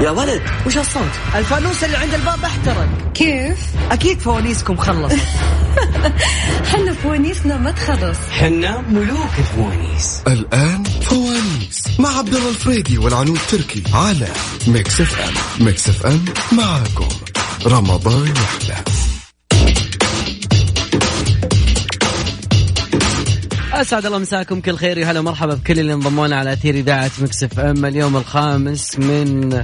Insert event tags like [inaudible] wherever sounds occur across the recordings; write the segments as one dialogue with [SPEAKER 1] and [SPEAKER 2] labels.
[SPEAKER 1] يا ولد
[SPEAKER 2] وش الصوت؟ الفانوس اللي عند الباب احترق
[SPEAKER 3] كيف؟
[SPEAKER 2] اكيد فوانيسكم خلصت
[SPEAKER 3] [laughs] حنا فوانيسنا ما تخلص
[SPEAKER 1] حنا ملوك الفوانيس
[SPEAKER 4] الآن فوانيس مع عبد الله الفريدي والعنود تركي على ميكس اف ام ميكس اف ام معاكم رمضان يحلى
[SPEAKER 5] اسعد الله مساكم كل خير يا هلا ومرحبا بكل اللي انضموا لنا على اثير اذاعه مكس اف ام اليوم الخامس من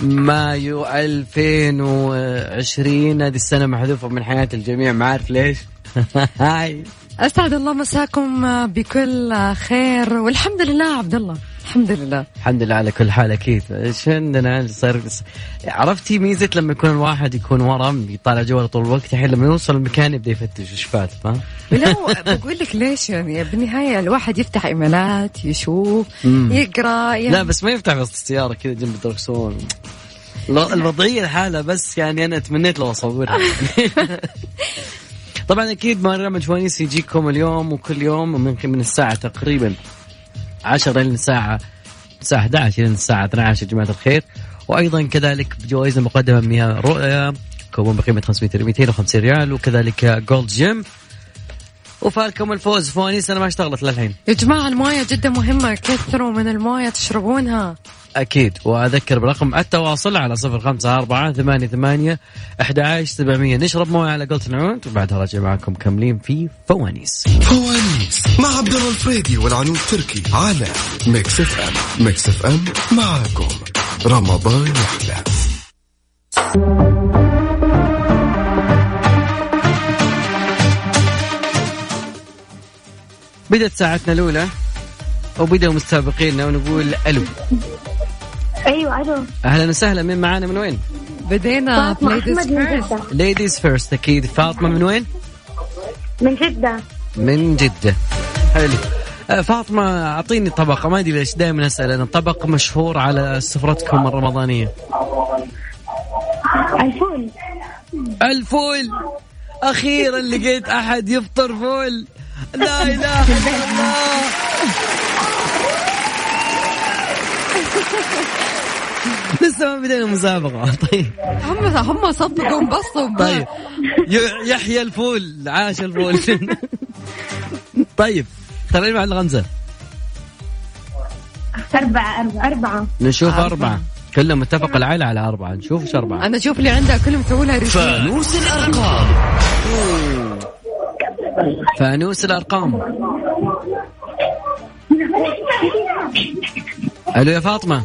[SPEAKER 5] مايو 2020 هذه السنه محذوفه من حياه الجميع ما عارف ليش [laughs] هاي
[SPEAKER 3] اسعد الله مساكم بكل خير والحمد لله عبد الله الحمد لله
[SPEAKER 5] الحمد لله على كل حال اكيد ايش عندنا صار عرفتي ميزه لما يكون الواحد يكون ورا يطالع جوا طول الوقت الحين لما يوصل المكان يبدا يفتش وش فات فاهم
[SPEAKER 3] لا بقول لك ليش يعني بالنهايه الواحد يفتح ايميلات يشوف يقرا يعني
[SPEAKER 5] لا بس ما يفتح وسط السياره كذا جنب الدركسون الو- الوضعيه الحالة بس يعني انا تمنيت لو اصورها طبعا اكيد برنامج فوانيس يجيكم اليوم وكل يوم من من الساعه تقريبا 10 الى الساعه الساعه 11 الى الساعه 12 يا جماعه الخير وايضا كذلك بجوائزنا مقدمه من رؤيا كوبون بقيمه 500 ريال 250 ريال وكذلك جولد جيم وفالكم الفوز فوانيس انا ما اشتغلت للحين
[SPEAKER 3] يا جماعه المويه جدا مهمه كثروا من المويه تشربونها
[SPEAKER 5] أكيد وأذكر برقم التواصل على صفر خمسة أربعة ثمانية ثمانية أحد سبعمية نشرب موية على قولة العنود وبعدها راجع معكم كاملين في فوانيس
[SPEAKER 4] فوانيس مع عبد الله الفريدي والعنود تركي على ميكس اف ام ميكس اف ام معاكم رمضان يحلى
[SPEAKER 5] بدأت ساعتنا الأولى وبدأوا مستابقينا ونقول ألو
[SPEAKER 6] ايوه الو
[SPEAKER 5] أهلا وسهلا من معانا من وين؟
[SPEAKER 3] بدينا
[SPEAKER 6] فاطمه
[SPEAKER 3] ladies
[SPEAKER 6] احمد طيب، من
[SPEAKER 3] آه، first.
[SPEAKER 6] جده
[SPEAKER 5] ليديز فيرست أكيد فاطمة من وين؟
[SPEAKER 6] من جده
[SPEAKER 5] من جدة حلو آه، فاطمة أعطيني طبقة ما أدري ليش دائما أسأل أنا طبق مشهور على سفرتكم الرمضانية
[SPEAKER 6] الفول
[SPEAKER 5] الفول اخيرا لقيت احد يفطر فول لا اله الا الله لسه ما بدينا مسابقة طيب
[SPEAKER 3] هم هم صدقوا انبسطوا ب-
[SPEAKER 5] طيب ي- يحيى الفول عاش الفول طيب خلينا مع الغمزة
[SPEAKER 6] أربعة أربعة أربعة [laughs]
[SPEAKER 5] نشوف
[SPEAKER 3] أربعة.
[SPEAKER 5] أربعة كلهم متفق العيلة على أربعة نشوف إيش أربعة
[SPEAKER 3] انا اشوف اللي عندها كلهم يسووا لها رسالة.
[SPEAKER 5] فانوس الأرقام فانوس الأرقام ألو يا فاطمة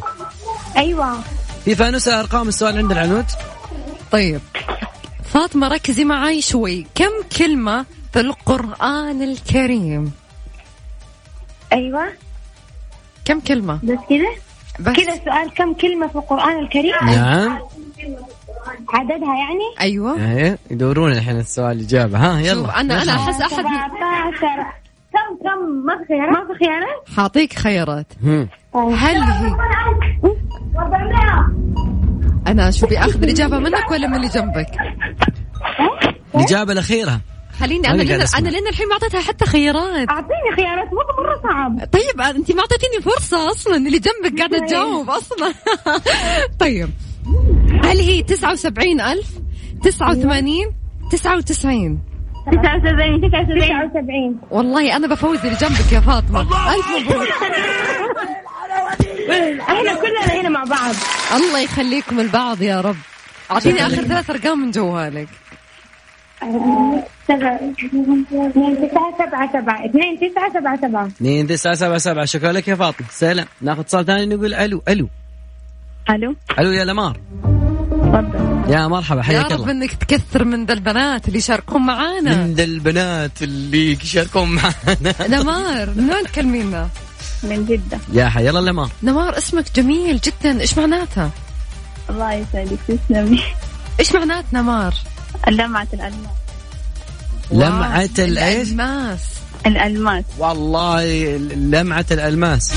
[SPEAKER 6] أيوة
[SPEAKER 5] في فانوس الأرقام السؤال عند العنود
[SPEAKER 3] طيب فاطمه ركزي معي شوي كم كلمه في القران الكريم
[SPEAKER 6] أيوة
[SPEAKER 3] كم كلمه
[SPEAKER 6] بس كذا
[SPEAKER 3] بس
[SPEAKER 6] كذا السؤال كم كلمة في القرآن الكريم
[SPEAKER 5] نعم
[SPEAKER 6] عددها يعني
[SPEAKER 3] ايوه
[SPEAKER 5] إيه، يدورون الحين السؤال الإجابة ها
[SPEAKER 3] شوف
[SPEAKER 5] يلا
[SPEAKER 3] انا انا احس احد من-
[SPEAKER 6] 17 كم كم ما في خيارات ما في خيارات طيب.
[SPEAKER 3] حاعطيك خيارات
[SPEAKER 5] هم.
[SPEAKER 3] هل هي انا شو باخذ الاجابه منك ولا من اللي جنبك؟
[SPEAKER 5] الإجابة الأخيرة
[SPEAKER 3] خليني
[SPEAKER 5] أنا
[SPEAKER 3] انا
[SPEAKER 5] قاعد
[SPEAKER 3] لين
[SPEAKER 5] أسمع.
[SPEAKER 3] انا لين الحين ما اعطيتها حتى خيارات
[SPEAKER 6] أعطيني خيارات مو مرة صعب إيه.
[SPEAKER 3] طيب انت ما اعطيتيني فرصه اصلا اللي جنبك قاعده تجاوب اصلا [laughs] طيب هل هي 79000 89 99
[SPEAKER 6] 79 79
[SPEAKER 3] والله انا بفوز اللي جنبك يا فاطمه الف
[SPEAKER 6] [laughs]
[SPEAKER 3] مبروك
[SPEAKER 6] احنا كلنا هنا مع بعض
[SPEAKER 3] الله يخليكم البعض يا رب اعطيني اخر ثلاث ارقام من جوالك
[SPEAKER 6] سبعة اثنين تسعة سبعة سبعة اثنين تسعة سبعة سبعة
[SPEAKER 5] 2 9 7 7 شكرا لك يا فاطمة سلام ناخذ اتصال ثاني نقول ألو ألو
[SPEAKER 6] ألو
[SPEAKER 5] ألو يا لمار
[SPEAKER 6] تفضل
[SPEAKER 5] يا مرحبا
[SPEAKER 3] يا
[SPEAKER 5] حياك
[SPEAKER 3] رب
[SPEAKER 5] الله
[SPEAKER 3] انك تكثر من ذا البنات اللي يشاركون معانا
[SPEAKER 5] من ذا البنات اللي يشاركون معنا
[SPEAKER 3] نمار من وين تكلمينا؟
[SPEAKER 6] من جدة
[SPEAKER 5] يا حي يلا لمار
[SPEAKER 3] نمار اسمك جميل جدا ايش معناتها
[SPEAKER 6] الله يسعدك تسلمي
[SPEAKER 3] ايش معنات نمار
[SPEAKER 6] اللمعة الألماس
[SPEAKER 5] لمعة
[SPEAKER 3] واو،
[SPEAKER 5] الإيش؟
[SPEAKER 3] الالماس
[SPEAKER 6] الألماس
[SPEAKER 5] والله لمعة الألماس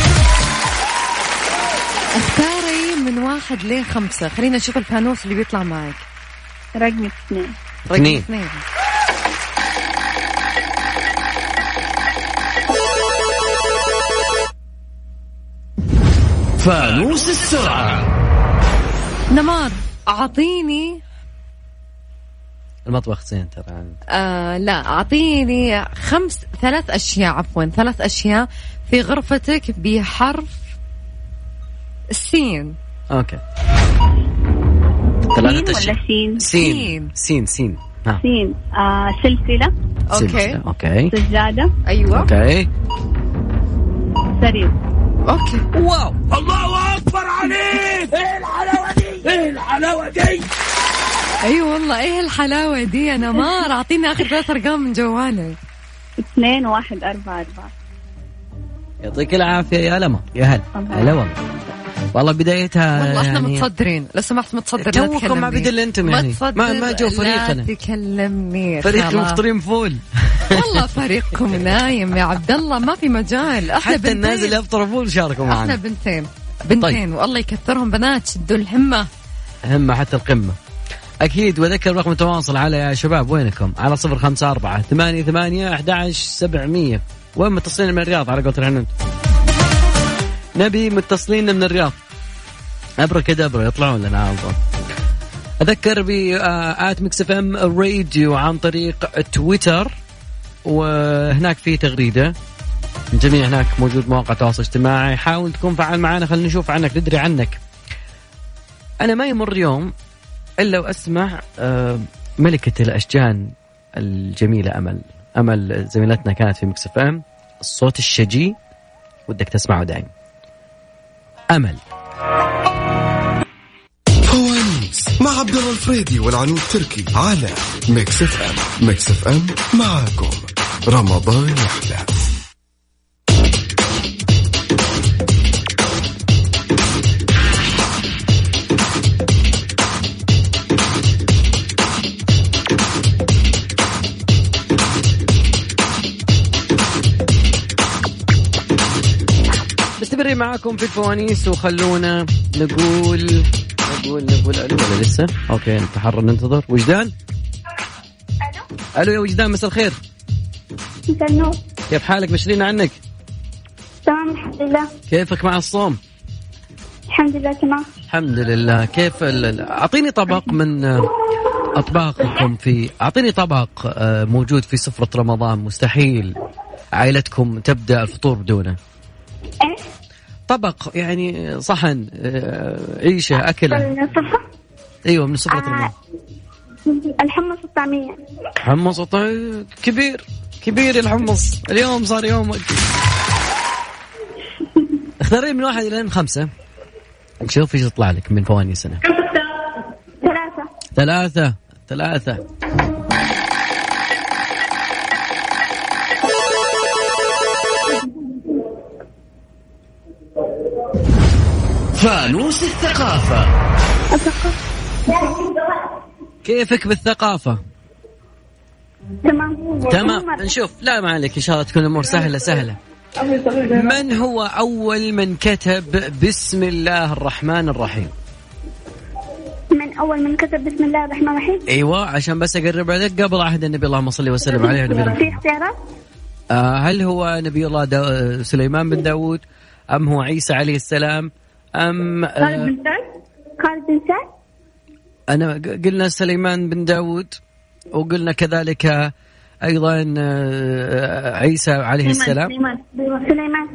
[SPEAKER 3] اختاري من واحد لخمسة خلينا نشوف الفانوس اللي بيطلع معك
[SPEAKER 6] رقم اثنين
[SPEAKER 3] رقم
[SPEAKER 5] اثنين.
[SPEAKER 3] اثنين
[SPEAKER 1] فانوس السرعة
[SPEAKER 3] نمار أعطيني
[SPEAKER 5] المطبخ زين ترى عن-
[SPEAKER 3] آه لا أعطيني خمس ثلاث أشياء عفوا ثلاث أشياء في غرفتك بحرف السين
[SPEAKER 5] اوكي
[SPEAKER 6] سين
[SPEAKER 5] ثلاثة أشياء.
[SPEAKER 6] ولا سين؟
[SPEAKER 5] سين سين سين ها
[SPEAKER 6] سين آه سلسلة
[SPEAKER 3] أوكي
[SPEAKER 5] سين. اوكي
[SPEAKER 6] سجادة
[SPEAKER 3] أيوة
[SPEAKER 5] اوكي
[SPEAKER 6] سرير
[SPEAKER 3] أوكي واو الله أكبر عليك إيه الحلاوة دي إيه الحلاوة دي أيوة والله إيه الحلاوة دي
[SPEAKER 5] [laughs]
[SPEAKER 3] يا نمار أعطينا آخر ثلاث أرقام من جوالك
[SPEAKER 6] اثنين واحد أربعة أربعة
[SPEAKER 5] يعطيك العافية يا لمى يا هلا
[SPEAKER 6] الله.
[SPEAKER 5] هلا والله والله بدايتها
[SPEAKER 3] والله احنا
[SPEAKER 5] يعني
[SPEAKER 3] متصدرين لو سمحت متصدر لا
[SPEAKER 5] توكم
[SPEAKER 3] تكلمني.
[SPEAKER 5] ما بدل انتم يعني.
[SPEAKER 3] ما
[SPEAKER 5] ما-
[SPEAKER 3] تصدر
[SPEAKER 5] ما جو فريقنا.
[SPEAKER 3] لا تكلمني
[SPEAKER 5] فريق
[SPEAKER 3] خلاص.
[SPEAKER 5] المفطرين فول
[SPEAKER 3] والله
[SPEAKER 5] [laughs]
[SPEAKER 3] فريقكم نايم يا عبد الله ما في مجال احنا
[SPEAKER 5] حتى نعم.
[SPEAKER 3] بنتين
[SPEAKER 5] الناس اللي افطروا فول شاركوا
[SPEAKER 3] احنا
[SPEAKER 5] معنا
[SPEAKER 3] بنتين
[SPEAKER 5] طيب.
[SPEAKER 3] بنتين والله يكثرهم بنات شدوا الهمه
[SPEAKER 5] همة حتى القمة أكيد وذكر رقم التواصل على يا شباب وينكم على صفر خمسة أربعة ثمانية ثمانية أحد عشر سبعمية وين متصلين من الرياض على قولة الهند نبي متصلين من الرياض أبرة كدبرة يطلعون لنا على طول أذكر ب آه، آت ميكس اف ام راديو عن طريق تويتر وهناك في تغريدة الجميع هناك موجود مواقع التواصل الاجتماعي حاول تكون فعال معنا خلينا نشوف عنك ندري عنك انا ما يمر يوم الا واسمع آه، ملكه الاشجان الجميله امل امل زميلتنا كانت في مكس اف ام الصوت الشجي ودك تسمعه دائم امل
[SPEAKER 4] فوانيس مع عبد الله الفريدي والعنود تركي على ميكس اف ام ميكس اف ام معاكم رمضان يحلى
[SPEAKER 5] مستمرين معاكم في الفوانيس وخلونا نقول نقول نقول الو ولا لسه؟ اوكي نتحرر ننتظر وجدان؟ الو الو يا وجدان مساء الخير
[SPEAKER 6] مساء النور
[SPEAKER 5] كيف حالك مشرين عنك؟
[SPEAKER 6] تمام الحمد لله
[SPEAKER 5] كيفك مع الصوم؟
[SPEAKER 6] الحمد لله تمام
[SPEAKER 5] الحمد لله كيف ال- ال- اعطيني طبق من آه، اطباقكم في اعطيني طبق آه، موجود في سفره رمضان مستحيل عائلتكم تبدا الفطور بدونه
[SPEAKER 6] ايه
[SPEAKER 5] طبق يعني صحن آه، عيشه اكله
[SPEAKER 6] الصفة
[SPEAKER 5] ايوه من
[SPEAKER 6] آه،
[SPEAKER 5] سفره رمضان
[SPEAKER 6] الحمص الطعمية
[SPEAKER 5] حمص وطي- كبير كبير الحمص اليوم صار يومك اختاري من واحد الى خمسه نشوف ايش يطلع لك من فوانيس هنا
[SPEAKER 6] ثلاثة
[SPEAKER 5] ثلاثة ثلاثة
[SPEAKER 1] فانوس الثقافة
[SPEAKER 5] كيفك بالثقافة؟
[SPEAKER 6] تمام
[SPEAKER 5] تمام نشوف لا ما عليك إن شاء الله تكون الأمور سهلة سهلة من هو أول من كتب بسم الله الرحمن الرحيم؟
[SPEAKER 6] من أول من كتب بسم الله الرحمن الرحيم
[SPEAKER 5] أيوة عشان بس أقرب عليك قبل عهد النبي اللهم صل وسلم عليه ونبي الله.
[SPEAKER 6] في اختيارات
[SPEAKER 5] آه هل هو نبي الله دا سليمان بن داود أم هو عيسى عليه السلام أم
[SPEAKER 6] خالد
[SPEAKER 5] آه
[SPEAKER 6] بن سعد خالد بن سعد
[SPEAKER 5] أنا ق- قلنا سليمان بن داود وقلنا كذلك أيضا آه، عيسى عليه السلام
[SPEAKER 6] سليمان سليمان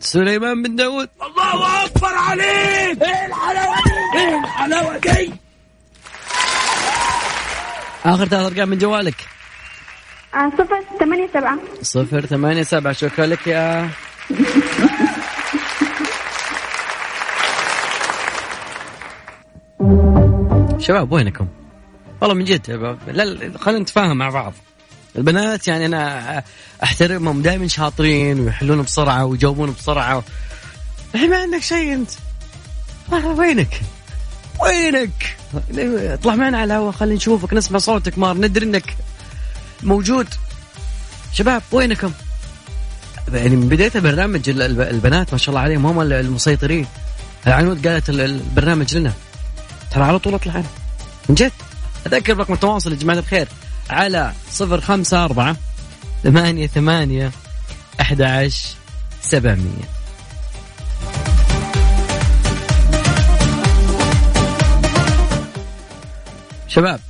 [SPEAKER 5] سليمان بن داود
[SPEAKER 1] الله أكبر عليك إيه الحلاوة دي إيه الحلاوة دي
[SPEAKER 5] آخر ثلاث أرقام من جوالك
[SPEAKER 6] آه، صفر ثمانية سبعة
[SPEAKER 5] صفر ثمانية سبعة شكرا لك يا شباب وينكم؟ والله من جد شباب. لا لا، خلينا نتفاهم مع بعض البنات يعني انا احترمهم دائما شاطرين ويحلون بسرعه ويجاوبون بسرعه الحين ما عندك شيء انت وينك؟ وينك؟ اطلع معنا على الهواء خلينا نشوفك نسمع صوتك مار ندري انك موجود شباب وينكم؟ يعني من بدايه البرنامج ال- الب- البنات ما شاء الله عليهم هم ال- المسيطرين. العنود قالت ال- البرنامج لنا ترى على طول اطلع انا من جد اذكر رقم التواصل يا جماعه الخير على 054 ثمانية ثمانية أحد عشر سبعمية شباب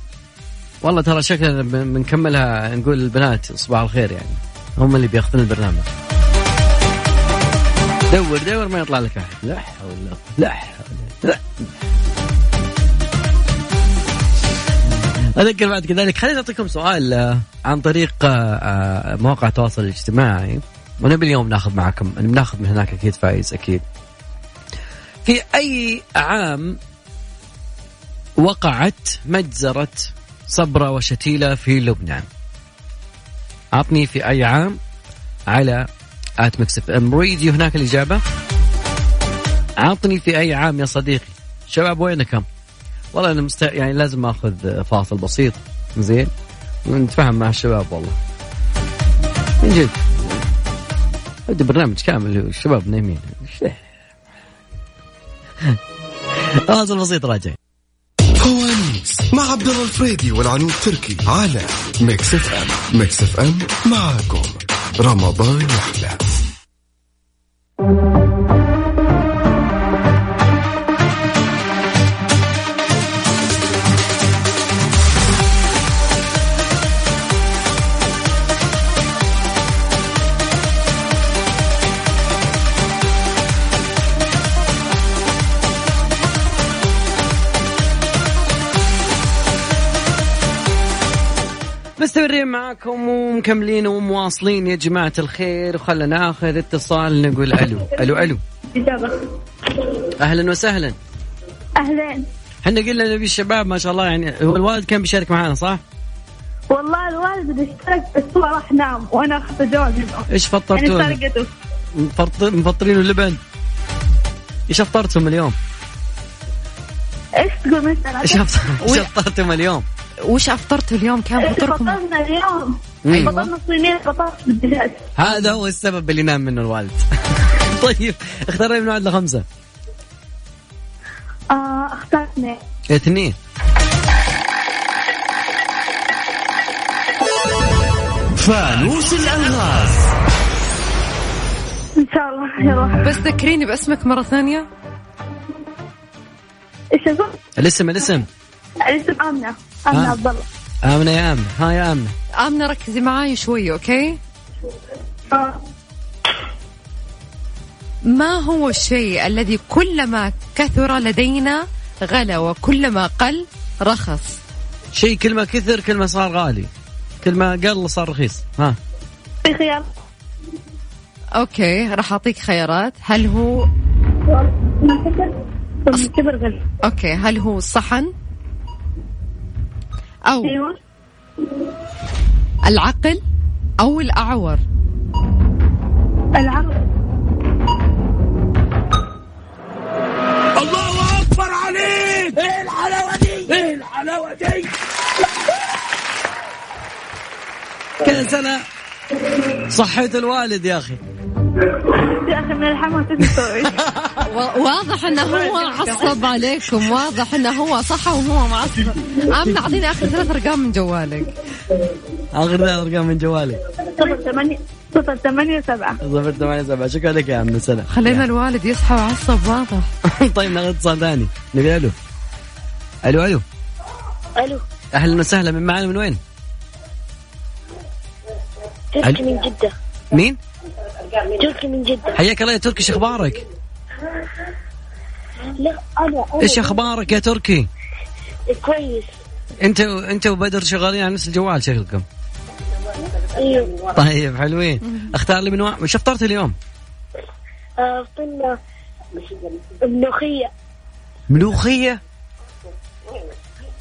[SPEAKER 5] والله ترى شكلنا بن- بنكملها نقول البنات صباح الخير يعني هم اللي بياخذون البرنامج دور دور ما يطلع لك احد لا حول ولا- لا حول ولا- لا اذكر بعد كذلك خليني اعطيكم سؤال آه، عن طريق آه، آه، مواقع التواصل الاجتماعي ونبي اليوم ناخذ معكم بناخذ من هناك اكيد فايز اكيد في اي عام وقعت مجزرة صبرة وشتيلة في لبنان عطني في أي عام على آت ميكس اف ام راديو هناك الإجابة عطني في أي عام يا صديقي شباب وينكم والله أنا مست... يعني لازم أخذ فاصل بسيط زين ونتفاهم مع الشباب والله من جد بدي برنامج كامل الشباب نايمين [laughs] فاصل بسيط راجع
[SPEAKER 4] فوانيس مع عبد الله الفريدي والعنود تركي على ميكس اف ام ميكس اف ام معاكم رمضان يحلى
[SPEAKER 5] مستمرين معاكم ومكملين ومواصلين يا جماعة الخير وخلنا ناخذ اتصال نقول الو الو الو
[SPEAKER 6] إجابة
[SPEAKER 5] اهلا وسهلا
[SPEAKER 6] أهلين
[SPEAKER 5] احنا قلنا نبي الشباب ما شاء الله يعني هو الوالد كان بيشارك معانا صح؟
[SPEAKER 6] والله الوالد بده يشترك بس هو راح نام وأنا أخذت جوابي
[SPEAKER 5] ايش
[SPEAKER 6] يعني
[SPEAKER 5] فطرتونا؟
[SPEAKER 6] سرقته
[SPEAKER 5] مفطر- مفطرين اللبن ايش افطرتم اليوم؟
[SPEAKER 6] إيش تقول مثلا؟
[SPEAKER 5] ايش أفطر- إيش افطرتم اليوم؟
[SPEAKER 3] وش افطرتوا اليوم كان فطوركم
[SPEAKER 6] فطرنا اليوم
[SPEAKER 5] مم.
[SPEAKER 6] فطرنا صينية بطاطس بالدجاج
[SPEAKER 5] هذا هو السبب اللي نام منه الوالد [laughs] طيب اختار لي من واحد لخمسة
[SPEAKER 6] آه اخترنا
[SPEAKER 5] اثنين
[SPEAKER 7] فانوس الالغاز
[SPEAKER 6] إن شاء الله يلا
[SPEAKER 3] بس ذكريني باسمك مرة ثانية
[SPEAKER 6] إيش أقول؟
[SPEAKER 5] الاسم الاسم
[SPEAKER 6] الاسم آمنة آمنة
[SPEAKER 5] آه.
[SPEAKER 6] عبد الله
[SPEAKER 5] امنه يا امنه ها يا امنه
[SPEAKER 3] آمنة ركزي معاي شوي أوكي
[SPEAKER 6] آه.
[SPEAKER 3] ما هو الشيء الذي كلما كثر لدينا غلا وكلما قل رخص
[SPEAKER 5] شيء كل ما كثر كل ما صار غالي كل ما قل صار رخيص ها
[SPEAKER 6] في خيار
[SPEAKER 3] أوكي راح أعطيك خيارات هل هو
[SPEAKER 6] ما كبر لما كبر غلط
[SPEAKER 3] أوكي هل هو صحن أو
[SPEAKER 6] أيوه
[SPEAKER 3] العقل أو الأعور
[SPEAKER 6] العرض
[SPEAKER 1] الله اكبر عليك ايه الحلاوه دي ايه الحلاوه دي
[SPEAKER 5] كذا سنة صحيت الوالد يا أخي
[SPEAKER 6] يا أخي من الحمام تسوي [laughs]
[SPEAKER 3] و- واضح أنه هو عصب عليكم واضح أنه هو صح وهو معصب آمنة أعطيني آخر ثلاث أرقام من جوالك
[SPEAKER 5] آخر ثلاث أرقام من جوالي
[SPEAKER 6] صفر ثمانية صفر ثمانية سبعة
[SPEAKER 5] صفر ثمانية سبعة شكرا لك يا عم سنة
[SPEAKER 3] خلينا الوالد يصحى وعصب واضح
[SPEAKER 5] [laughs] طيب ناخذ اتصال ثاني نبي ألو ألو ألو
[SPEAKER 8] الو
[SPEAKER 5] أهلا وسهلا من معنا من وين؟
[SPEAKER 8] تركي من جدة
[SPEAKER 5] مين؟
[SPEAKER 8] تركي من جدة
[SPEAKER 5] حياك الله يا تركي ايش اخبارك؟
[SPEAKER 8] لا انا انا
[SPEAKER 5] ايش اخبارك يا تركي؟
[SPEAKER 8] كويس
[SPEAKER 5] انت و... انت وبدر شغالين على نفس الجوال شكلكم.
[SPEAKER 8] ايوه
[SPEAKER 5] طيب حلوين. اختار لي من واحد وش افطرت اليوم؟
[SPEAKER 8] آه، فطنا ملوخية
[SPEAKER 5] ملوخية؟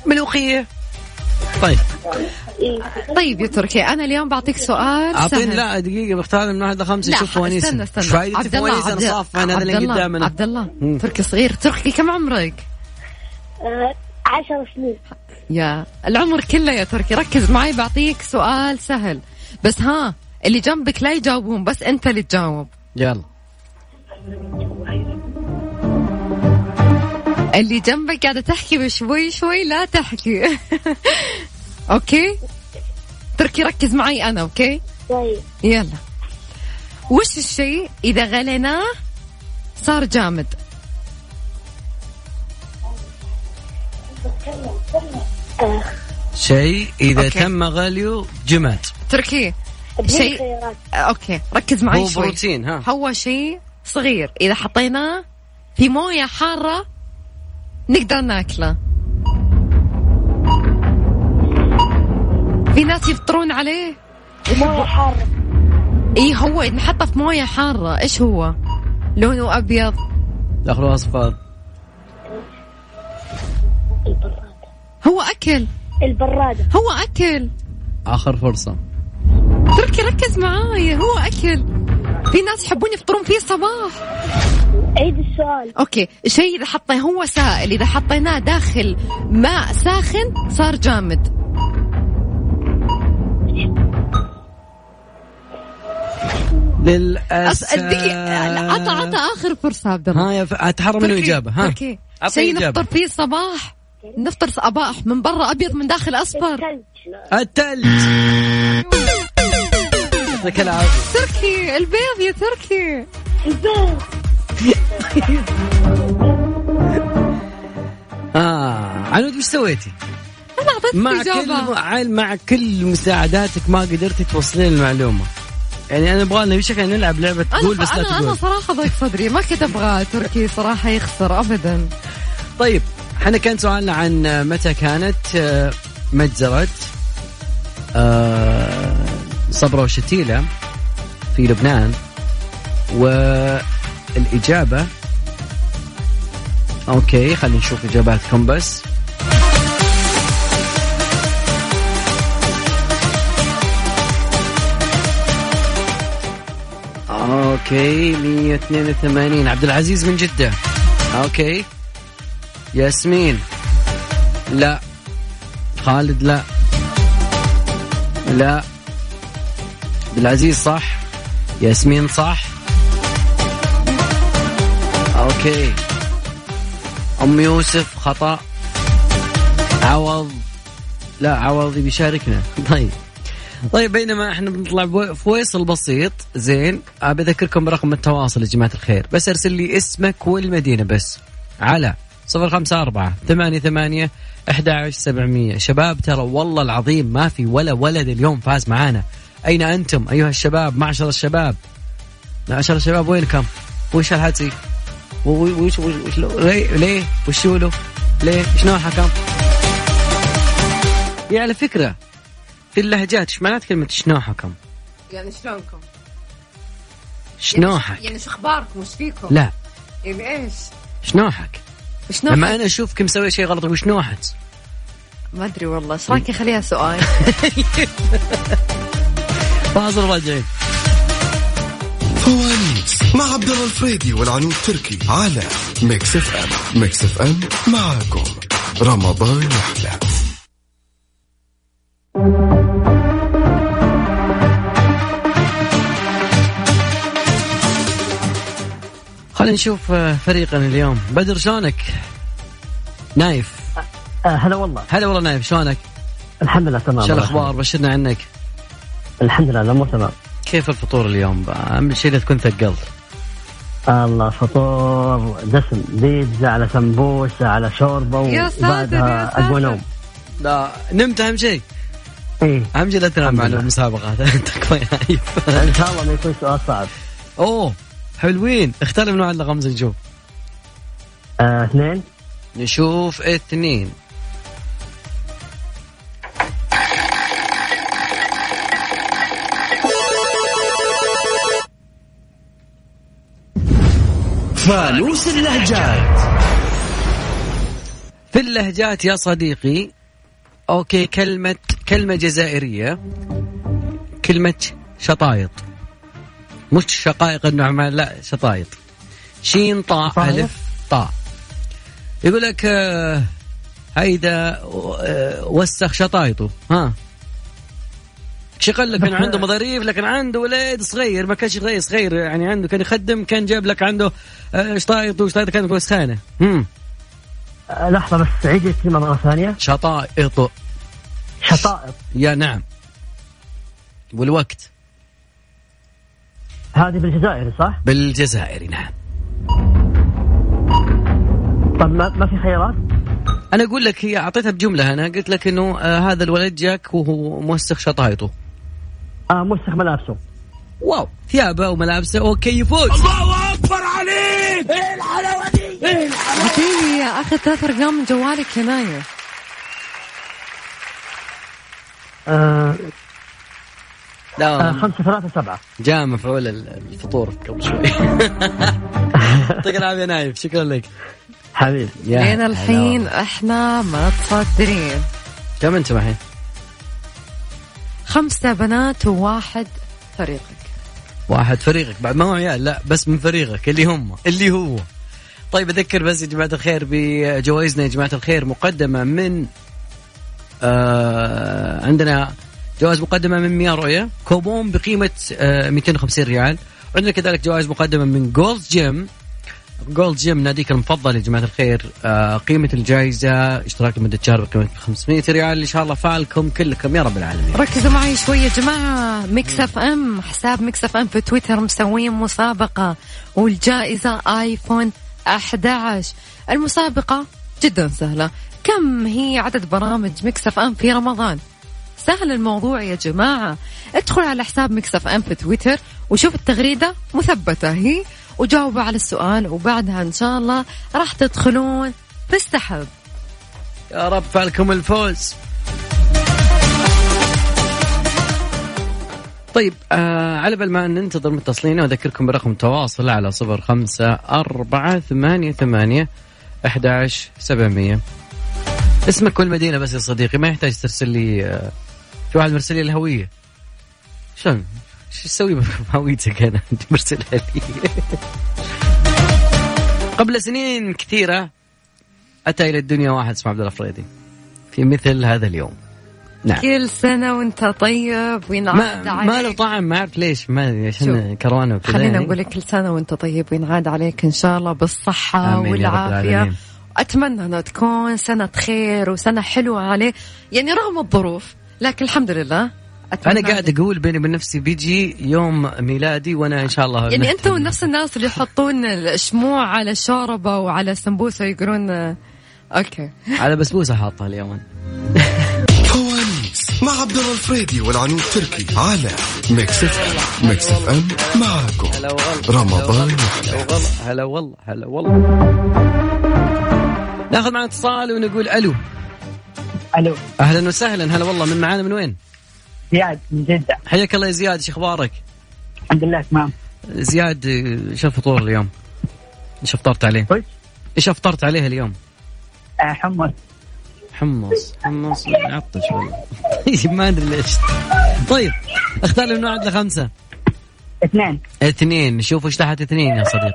[SPEAKER 5] ملوخية؟ طيب
[SPEAKER 8] إيه.
[SPEAKER 3] طيب يا تركي انا اليوم بعطيك سؤال
[SPEAKER 5] اعطيني
[SPEAKER 3] سهل
[SPEAKER 5] لا دقيقه بختار من واحد لخمسه شوف
[SPEAKER 3] ح-
[SPEAKER 5] فوانيس
[SPEAKER 3] استنى استنى
[SPEAKER 5] ايش فايدة فوانيس انا
[SPEAKER 3] عبد-
[SPEAKER 5] صاف انا هذا اللي
[SPEAKER 3] عبد الله-
[SPEAKER 5] قدامنا
[SPEAKER 3] عبد
[SPEAKER 5] مم.
[SPEAKER 3] الله تركي صغير تركي كم عمرك؟
[SPEAKER 8] آه، عشر سنين
[SPEAKER 3] يا العمر كله يا تركي ركز معي بعطيك سؤال سهل بس ها اللي جنبك لا يجاوبون بس انت اللي تجاوب
[SPEAKER 5] يلا
[SPEAKER 3] اللي جنبك قاعده تحكي بشوي شوي لا تحكي [laughs] اوكي تركي ركز معي انا اوكي
[SPEAKER 8] طيب
[SPEAKER 3] يلا وش الشيء اذا غليناه صار جامد
[SPEAKER 8] آه،
[SPEAKER 5] شيء إذا
[SPEAKER 3] أوكي.
[SPEAKER 5] تم غليه جماد
[SPEAKER 3] تركي
[SPEAKER 8] اديني
[SPEAKER 3] شيء-
[SPEAKER 8] خيارات
[SPEAKER 3] اوكي آه، ركز معي
[SPEAKER 5] هو
[SPEAKER 3] شوي
[SPEAKER 5] بروتين ها
[SPEAKER 3] هو شيء صغير اذا حطيناه في مويه حاره نقدر ناكله في ناس يفطرون عليه
[SPEAKER 8] مويه حاره
[SPEAKER 3] اي هو ينحط في مويه حاره ايش هو لونه ابيض
[SPEAKER 5] دخله أصفر
[SPEAKER 8] البراده
[SPEAKER 3] هو اكل
[SPEAKER 8] البراده
[SPEAKER 3] هو اكل
[SPEAKER 5] آخر فرصة
[SPEAKER 3] تركي ركز معاي هو اكل في ناس يحبون يفطرون فيه الصباح
[SPEAKER 8] عيد السؤال
[SPEAKER 3] اوكي شيء اذا حطيناه هو سائل اذا حطيناه داخل ماء ساخن صار جامد
[SPEAKER 5] للأسف
[SPEAKER 3] أص- دقيقة، لا، عطى عطى اخر فرصه عبد الله
[SPEAKER 5] ها يا ف... اتحرى من
[SPEAKER 3] تركي،
[SPEAKER 5] آه، الإجابة ها
[SPEAKER 3] تركي.
[SPEAKER 5] عطني
[SPEAKER 3] شيء
[SPEAKER 5] إجابة.
[SPEAKER 3] نفطر فيه الصباح نفطر صباح من برا ابيض من داخل اصفر
[SPEAKER 8] الثلج
[SPEAKER 5] الثلج
[SPEAKER 3] [laughs]
[SPEAKER 5] يعطيك العافية
[SPEAKER 3] تركي البيض يا تركي
[SPEAKER 8] البيض
[SPEAKER 5] آه عنود وش سويتي؟
[SPEAKER 3] انا اعطيتك
[SPEAKER 5] مع كل
[SPEAKER 3] اجابه
[SPEAKER 5] مع- مع كل مساعداتك ما قدرتي توصلين المعلومة يعني أنا أبغى لنا بشكل نلعب لعبة
[SPEAKER 3] انا
[SPEAKER 5] تقول بس لا
[SPEAKER 3] انا انا
[SPEAKER 5] تقول
[SPEAKER 3] صراحه ضيق صدري ما كنت ابغى تركي صراحه يخسر ابدا
[SPEAKER 5] طيب احنا كان سؤالنا عن متى كانت آه، مجزرة آه، صبرا وشتيلة في لبنان والإجابة أوكي خلينا نشوف إجاباتكم بس اوكي 182 عبد العزيز من جدة اوكي ياسمين لا خالد لا لا عبد العزيز صح ياسمين صح اوكي ام يوسف خطا عوض لا عوض بيشاركنا [laughs] طيب طيب بينما احنا بنطلع بو- فويصل بسيط زين آه، بذكركم برقم التواصل يا جماعه الخير بس ارسل لي اسمك والمدينه بس على 054 88 11700 شباب ترى والله العظيم ما في ولا ولد اليوم فاز معانا اين انتم ايها الشباب معشر الشباب معشر الشباب وينكم وش الهاتي و- و- وش وش وش- ليه ليه وش شوله ليه شنو الحكم يعني على فكره في اللهجات ايش معنات كلمة شنوحكم؟
[SPEAKER 3] يعني شلونكم؟
[SPEAKER 5] شنوحك
[SPEAKER 3] يعني شو اخباركم؟ وش فيكم؟
[SPEAKER 5] لا
[SPEAKER 3] يعني ايش؟
[SPEAKER 5] شنوحك
[SPEAKER 3] شلون
[SPEAKER 5] لما انا اشوفك مسوي شيء غلط اقول شنوحت
[SPEAKER 3] ما ادري والله ايش رايك اخليها [laughs] سؤال؟
[SPEAKER 5] فاصل راجعين
[SPEAKER 4] فوانيس مع عبد الله الفريدي والعنود تركي على ميكس اف ام ميكس اف ام معاكم رمضان يحلى
[SPEAKER 5] خلينا نشوف آه، فريقنا اليوم بدر شلونك؟ نايف
[SPEAKER 9] آه هلا والله
[SPEAKER 5] هلا والله نايف شلونك؟
[SPEAKER 9] الحمد لله تمام
[SPEAKER 5] شو الاخبار؟ بشرنا عنك
[SPEAKER 9] الحمد لله الامور تمام
[SPEAKER 5] كيف الفطور اليوم؟ اهم شيء لا تكون ثقلت
[SPEAKER 9] الله فطور دسم بيتزا على سمبوسه على شوربه
[SPEAKER 3] يا ساتر، يا
[SPEAKER 9] وبعدها
[SPEAKER 3] ساتر.
[SPEAKER 9] اقوى نوم
[SPEAKER 5] لا نمت اهم شيء
[SPEAKER 9] ايه
[SPEAKER 5] اهم شيء لا تنام
[SPEAKER 9] الحمد
[SPEAKER 5] مع
[SPEAKER 9] لله.
[SPEAKER 5] المسابقة [laughs] تكفى يا نايف
[SPEAKER 9] [laughs] ان شاء الله ما يكون سؤال صعب
[SPEAKER 5] اوه حلوين اختار من نوع اللي غمز نشوف
[SPEAKER 9] آه اثنين
[SPEAKER 5] نشوف اثنين
[SPEAKER 7] فانوس اللهجات
[SPEAKER 5] في اللهجات يا صديقي اوكي كلمة كلمة جزائرية كلمة شطايط مش شقائق النعمان لا شطايط شين طاء
[SPEAKER 9] شطايط؟
[SPEAKER 5] الف طاء يقول لك آه، هيدا آه، وسخ شطايطه ها شغل لك من عنده مظاريف لكن عنده ولد صغير ما كانش صغير صغير يعني عنده كان يخدم كان جاب لك عنده آه، شطايط وشطايط كانت وسخانه هم.
[SPEAKER 9] آه لحظه بس عيد الكلمه مره ثانيه
[SPEAKER 5] شطائط
[SPEAKER 9] شطائط
[SPEAKER 5] يا نعم والوقت
[SPEAKER 9] هذه بالجزائر صح؟
[SPEAKER 5] بالجزائري نعم
[SPEAKER 9] طيب، طب ما, ما في خيارات؟
[SPEAKER 5] انا اقول لك هي اعطيتها بجمله انا قلت لك انه آه هذا الولد جاك وهو موسخ شطايطه
[SPEAKER 9] اه موسخ ملابسه
[SPEAKER 5] واو ثيابه وملابسه وكيفوت
[SPEAKER 1] الله اكبر عليك ايه الحلاوه دي ايه الحلاوه
[SPEAKER 3] اعطيني اخذ ثلاث ارقام من جوالك يا نايف
[SPEAKER 9] آه آه
[SPEAKER 5] لا
[SPEAKER 9] خمسة ثلاثة سبعة
[SPEAKER 5] جاء مفعول ال- الفطور قبل
[SPEAKER 3] [laughs]
[SPEAKER 5] شوي يعطيك العافيه نايف شكرا لك
[SPEAKER 9] حبيبي
[SPEAKER 5] يا
[SPEAKER 3] لين
[SPEAKER 5] هلا
[SPEAKER 3] الحين
[SPEAKER 5] والله.
[SPEAKER 3] احنا ما تصدقين
[SPEAKER 5] كم انت معي
[SPEAKER 3] خمسة بنات وواحد فريقك
[SPEAKER 5] واحد فريقك بعد ما هو عيال لا بس من فريقك اللي هم اللي هو طيب اذكر بس يا جماعه الخير بجوائزنا يا جماعه الخير مقدمه من آه عندنا جوائز مقدمه من 100 رؤيه كوبون بقيمه آه 250 ريال عندنا كذلك جوائز مقدمه من جولد جيم جولد جيم ناديك المفضل يا جماعه الخير آه قيمه الجائزه اشتراك لمده شهر بقيمه 500 ريال ان شاء الله فالكم كلكم يا رب العالمين
[SPEAKER 3] ركزوا معي شوي يا جماعة ميكس اف ام حساب ميكس اف ام في تويتر مسوين مسابقة والجائزة ايفون 11 المسابقة جدا سهلة كم هي عدد برامج ميكس اف ام في رمضان سهل الموضوع يا جماعة ادخل على حساب ميكس اف ام في تويتر وشوف التغريدة مثبتة هي وجاوبوا على السؤال وبعدها ان شاء الله راح تدخلون في السحب
[SPEAKER 5] يا رب فالكم الفوز طيب آه على بال ما ننتظر من تسلينا أذكركم برقم تواصل على صفر خمسة أربعة ثمانية ثمانية أحداش سبعمية اسمك والمدينة بس يا صديقي ما يحتاج ترسل لي آه في واحد مرسل لي الهوية شلون شو تسوي [laughs] بهويتك أنا أنت مرسلها لي [laughs] قبل سنين كثيرة أتى إلى الدنيا واحد اسمه عبد الأفريدي في مثل هذا اليوم نعم
[SPEAKER 3] كل سنة وانت طيب وينعاد
[SPEAKER 5] ما طيب. ما له
[SPEAKER 3] عليك
[SPEAKER 5] طعم ما اعرف ليش ما أدري، عشان
[SPEAKER 3] شوف،
[SPEAKER 5] كروانه وكذا
[SPEAKER 3] خلينا
[SPEAKER 5] يعني.
[SPEAKER 3] نقول لك كل سنة وانت طيب وينعاد عليك ان شاء الله بالصحة
[SPEAKER 5] آمين يا رب
[SPEAKER 3] والعافية
[SPEAKER 5] العالمين.
[SPEAKER 3] اتمنى انها تكون سنة خير وسنة حلوة عليه يعني رغم الظروف لكن الحمد لله أتمنى
[SPEAKER 5] انا قاعد اقول بيني وبين نفسي بيجي يوم ميلادي وانا ان شاء الله
[SPEAKER 3] يعني انتم نفس الناس اللي يحطون الشموع على شوربة وعلى سمبوسة يقولون آه، اوكي
[SPEAKER 5] على بسبوسه حاطها اليوم أنا.
[SPEAKER 4] فوانيس مع عبد الله الفريدي والعنود تركي على ميكس اف ام ميكس اف ام معاكم
[SPEAKER 5] هلا والله
[SPEAKER 4] رمضان
[SPEAKER 5] هلا والله هلا والله هلا والله ناخذ معنا اتصال ونقول الو
[SPEAKER 9] الو
[SPEAKER 5] اهلا وسهلا هلا والله من معانا من وين؟
[SPEAKER 9] زياد من جدة
[SPEAKER 5] حياك الله يا زياد شو اخبارك؟
[SPEAKER 9] الحمد لله تمام
[SPEAKER 5] زياد آه، شو الفطور اليوم؟ ايش افطرت عليه؟
[SPEAKER 9] كويس
[SPEAKER 5] ايش افطرت عليه اليوم؟
[SPEAKER 9] آه حمص
[SPEAKER 5] حمص حمص عطش والله ما ادري ليش طيب اختار لي من واحد لخمسه
[SPEAKER 9] اثنين
[SPEAKER 5] اثنين شوف ايش تحت اثنين يا صديقي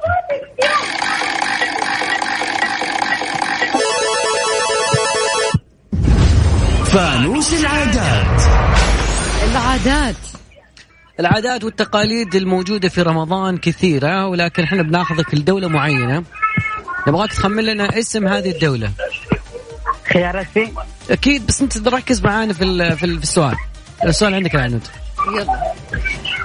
[SPEAKER 7] فانوس العادات
[SPEAKER 3] العادات
[SPEAKER 5] العادات والتقاليد الموجوده في رمضان كثيره ولكن احنا بناخذك لدوله معينه نبغاك تخمن لنا اسم هذه الدوله
[SPEAKER 9] خياراتي
[SPEAKER 5] اكيد بس انت ركز معانا في ال- في ال- في السؤال السؤال عندك يا عنود
[SPEAKER 3] يلا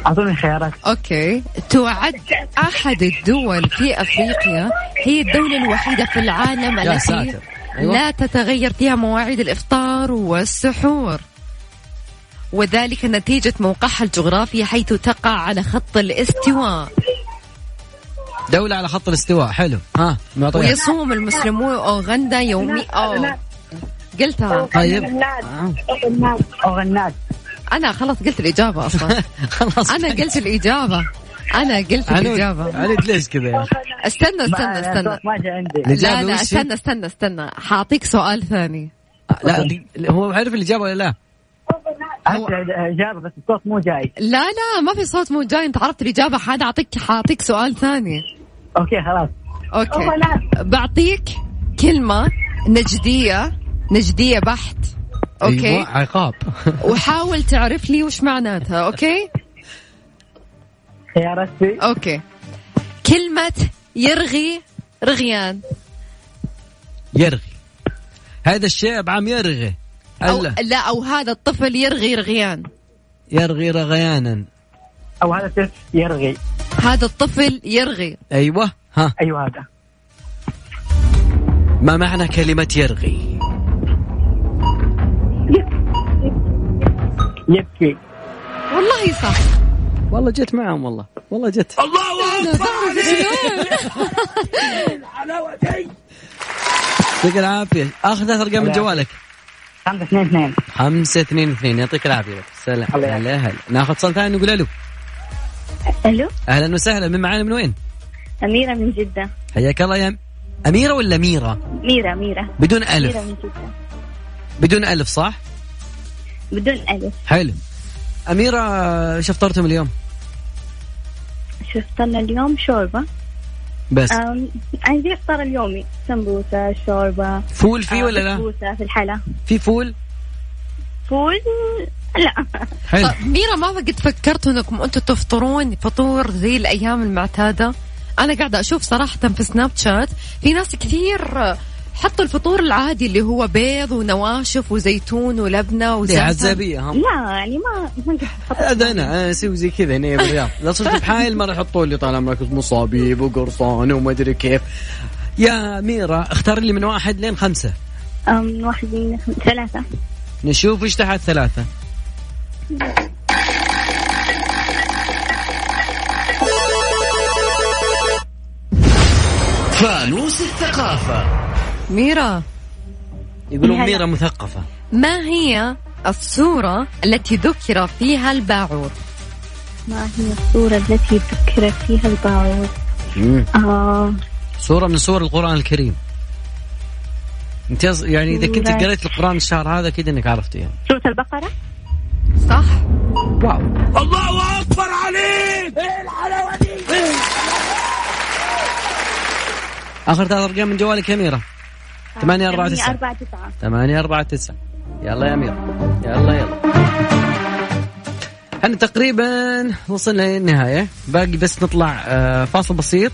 [SPEAKER 9] اعطوني خيارات
[SPEAKER 3] اوكي تعد احد الدول في افريقيا هي الدولة الوحيدة في العالم
[SPEAKER 5] يا
[SPEAKER 3] التي
[SPEAKER 5] ساتر. أيوة.
[SPEAKER 3] لا تتغير فيها مواعيد الافطار والسحور وذلك نتيجة موقعها الجغرافي حيث تقع على خط الاستواء
[SPEAKER 5] طيب. دوله على خط الاستواء حلو ها معطيها
[SPEAKER 3] ويصوم المسلمون أوغندا يومي أو قلتها
[SPEAKER 5] طيب
[SPEAKER 8] الناس الناس
[SPEAKER 9] اوغنات
[SPEAKER 3] أنا خلاص قلت
[SPEAKER 5] [laughs]
[SPEAKER 3] الإجابة أصلا
[SPEAKER 5] [laughs] خلاص
[SPEAKER 3] أنا قلت الإجابة أنا قلت
[SPEAKER 5] عنود
[SPEAKER 3] الإجابة
[SPEAKER 5] عنود ليش كذا يا اخي
[SPEAKER 3] استنى استنى استنى
[SPEAKER 9] ما جاء عندي
[SPEAKER 3] لا
[SPEAKER 5] الإجابة
[SPEAKER 3] لا
[SPEAKER 5] وش هي؟
[SPEAKER 3] استنى استنى استنى حاعطيك سؤال ثاني
[SPEAKER 5] لا دي- هو عارف الاجابه ولا لا؟
[SPEAKER 9] عندي اجابه بس الصوت مو جاي
[SPEAKER 3] لا لا ما في صوت مو جاي انت عرفت الاجابه حاد اعطيك حاعطيك سؤال ثاني
[SPEAKER 9] اوكي خلاص
[SPEAKER 3] اوكي
[SPEAKER 8] هو لا.
[SPEAKER 3] بعطيك كلمه نجديه نجديه بحت اوكي
[SPEAKER 5] أيوة، عقاب [laughs]
[SPEAKER 3] وحاول تعرف لي وش معناتها اوكي
[SPEAKER 9] خياراتي
[SPEAKER 3] اوكي كلمه يرغي رغيان
[SPEAKER 5] يرغي هذا الشيب عم يرغي
[SPEAKER 3] أو
[SPEAKER 5] هلا
[SPEAKER 3] لا او هذا الطفل يرغي رغيان
[SPEAKER 5] يرغي رغيانا
[SPEAKER 9] او هذا تف يرغي
[SPEAKER 3] هذا الطفل يرغي
[SPEAKER 5] ايوه ها
[SPEAKER 9] أيوه، ايوه هذا
[SPEAKER 5] ما معنى كلمة يرغي
[SPEAKER 9] يبكي
[SPEAKER 3] والله صح
[SPEAKER 5] والله جت معهم والله والله جت
[SPEAKER 1] الله
[SPEAKER 3] أنا
[SPEAKER 1] اكبر
[SPEAKER 3] صح مليون.
[SPEAKER 1] الحلاوه دي
[SPEAKER 5] يعطيك العافيه اخر ثلاث ارقام من جوالك
[SPEAKER 9] خمسة اثنين اثنين
[SPEAKER 5] خمسة اثنين اثنين يعطيك العافيه لك سلام
[SPEAKER 9] الله
[SPEAKER 5] هلا هلا ناخذ اتصال ثاني نقول الو
[SPEAKER 8] الو
[SPEAKER 5] اهلا وسهلا من معانا من وين؟
[SPEAKER 8] اميره من جده
[SPEAKER 5] حياك الله يا اميره ولا ميره؟
[SPEAKER 8] ميره ميره
[SPEAKER 5] بدون
[SPEAKER 8] ميره
[SPEAKER 5] الف
[SPEAKER 8] من جده
[SPEAKER 5] بدون الف صح؟
[SPEAKER 8] بدون الف
[SPEAKER 5] حلو اميره ايش افطرتم اليوم؟
[SPEAKER 8] شفت لنا اليوم شوربه
[SPEAKER 5] بس
[SPEAKER 8] أم، عندي افطار اليومي سمبوسه شوربه
[SPEAKER 5] فول في
[SPEAKER 8] آه،
[SPEAKER 5] ولا لا؟
[SPEAKER 8] بسبوسه في الحلا
[SPEAKER 5] في فول؟
[SPEAKER 8] فول لا
[SPEAKER 5] حلو
[SPEAKER 3] طب آه، ميرا ما قد فكرتوا انكم انتم تفطرون فطور زي الايام المعتاده انا قاعده اشوف صراحه في سناب شات في ناس كثير آه، حطوا الفطور العادي اللي هو بيض ونواشف وزيتون ولبنه
[SPEAKER 5] دي
[SPEAKER 3] وزعتر
[SPEAKER 5] عزابيه هم
[SPEAKER 8] لا يعني ما ما قد أحط-
[SPEAKER 5] هذا انا أنا اسوي آه، زي كذا هنا بالرياض لا صرت بحايل ما راح يحطوا لي طال عمرك مصابيب وقرصان وما ادري كيف يا ميرا اختار لي من واحد لين خمسه
[SPEAKER 8] أم، واحد من ثلاثه
[SPEAKER 5] نشوف ايش تحت ثلاثه
[SPEAKER 7] فانوس الثقافة
[SPEAKER 3] ميرا
[SPEAKER 5] يقولون
[SPEAKER 8] هلا.
[SPEAKER 5] ميرا مثقفه
[SPEAKER 3] ما هي الصوره التي ذكر فيها الباعوث
[SPEAKER 8] ما هي الصورة التي ذكر فيها الباعوث؟ آه
[SPEAKER 5] سوره من سور القران الكريم انت يص- يعني اذا كنت
[SPEAKER 8] سورة.
[SPEAKER 5] قريت القران الشهر هذا كده انك عرفتيها يعني.
[SPEAKER 8] سورة البقرة؟
[SPEAKER 3] صح
[SPEAKER 1] الله اكبر عليك ايه الحلاوه دي إيه
[SPEAKER 5] اخر ثلاث ارقام من جوالك يا ميرا 8 4 9
[SPEAKER 8] يعني أربعة تسعة
[SPEAKER 5] 8 4 9 يلا يا امير يلا يلا احنا تقريبا وصلنا للنهايه باقي بس نطلع آه، فاصل بسيط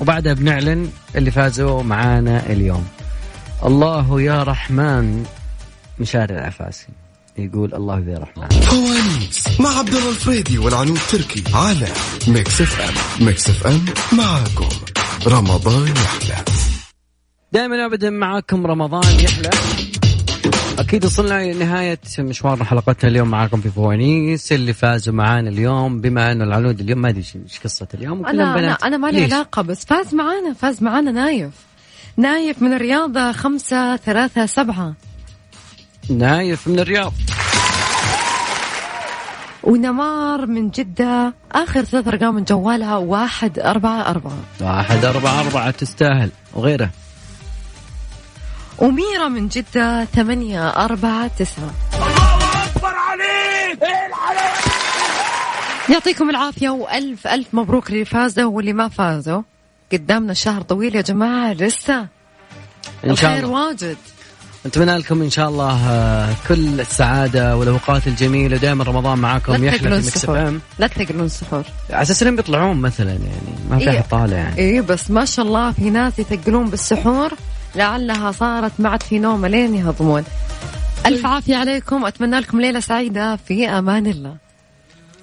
[SPEAKER 5] وبعدها بنعلن اللي فازوا معانا اليوم الله يا رحمن مشاري العفاسي يقول الله يا رحمن
[SPEAKER 4] فوانيس مع عبد الله الفريدي والعنود تركي على ميكس اف ام ميكس اف ام معاكم رمضان يحلى
[SPEAKER 5] دائما ابدا معاكم رمضان يحلى اكيد وصلنا لنهايه مشوار حلقتنا اليوم معاكم في فوانيس اللي فازوا معانا اليوم بما انه العنود اليوم ما ادري إيش- ايش قصه اليوم
[SPEAKER 3] انا انا, أنا ما لي
[SPEAKER 5] ليش؟
[SPEAKER 3] علاقه بس فاز معانا فاز معانا نايف نايف من الرياض خمسة ثلاثة سبعة
[SPEAKER 5] نايف من الرياض
[SPEAKER 3] ونمار من جدة آخر ثلاث أرقام من جوالها واحد أربعة أربعة
[SPEAKER 5] واحد أربعة أربعة تستاهل وغيره
[SPEAKER 3] وميرا من جدة ثمانية أربعة تسعة
[SPEAKER 1] الله اكبر عليك ايه الحلاوه دي
[SPEAKER 3] يعطيكم العافية وألف ألف مبروك للي فازوا واللي ما فازوا قدامنا شهر طويل يا جماعة لسه
[SPEAKER 5] إن شاء
[SPEAKER 3] الخير
[SPEAKER 5] الله
[SPEAKER 3] واجد
[SPEAKER 5] نتمنى لكم إن شاء الله آه، كل السعادة والأوقات الجميلة دائما رمضان
[SPEAKER 3] لا
[SPEAKER 5] معاكم يحلى في
[SPEAKER 3] تثقلون
[SPEAKER 5] مكس اف
[SPEAKER 3] السحور
[SPEAKER 5] ام
[SPEAKER 3] لا تثقلون السحور
[SPEAKER 5] على أساس إنهم بيطلعون مثلا يعني ما في
[SPEAKER 3] إيه.
[SPEAKER 5] أحد طالع يعني
[SPEAKER 3] إيه بس ما شاء الله في ناس يثقلون بالسحور لعلها صارت معد في نوم لين يهضمون ألف عافية عليكم أتمنى لكم ليلة سعيدة في أمان الله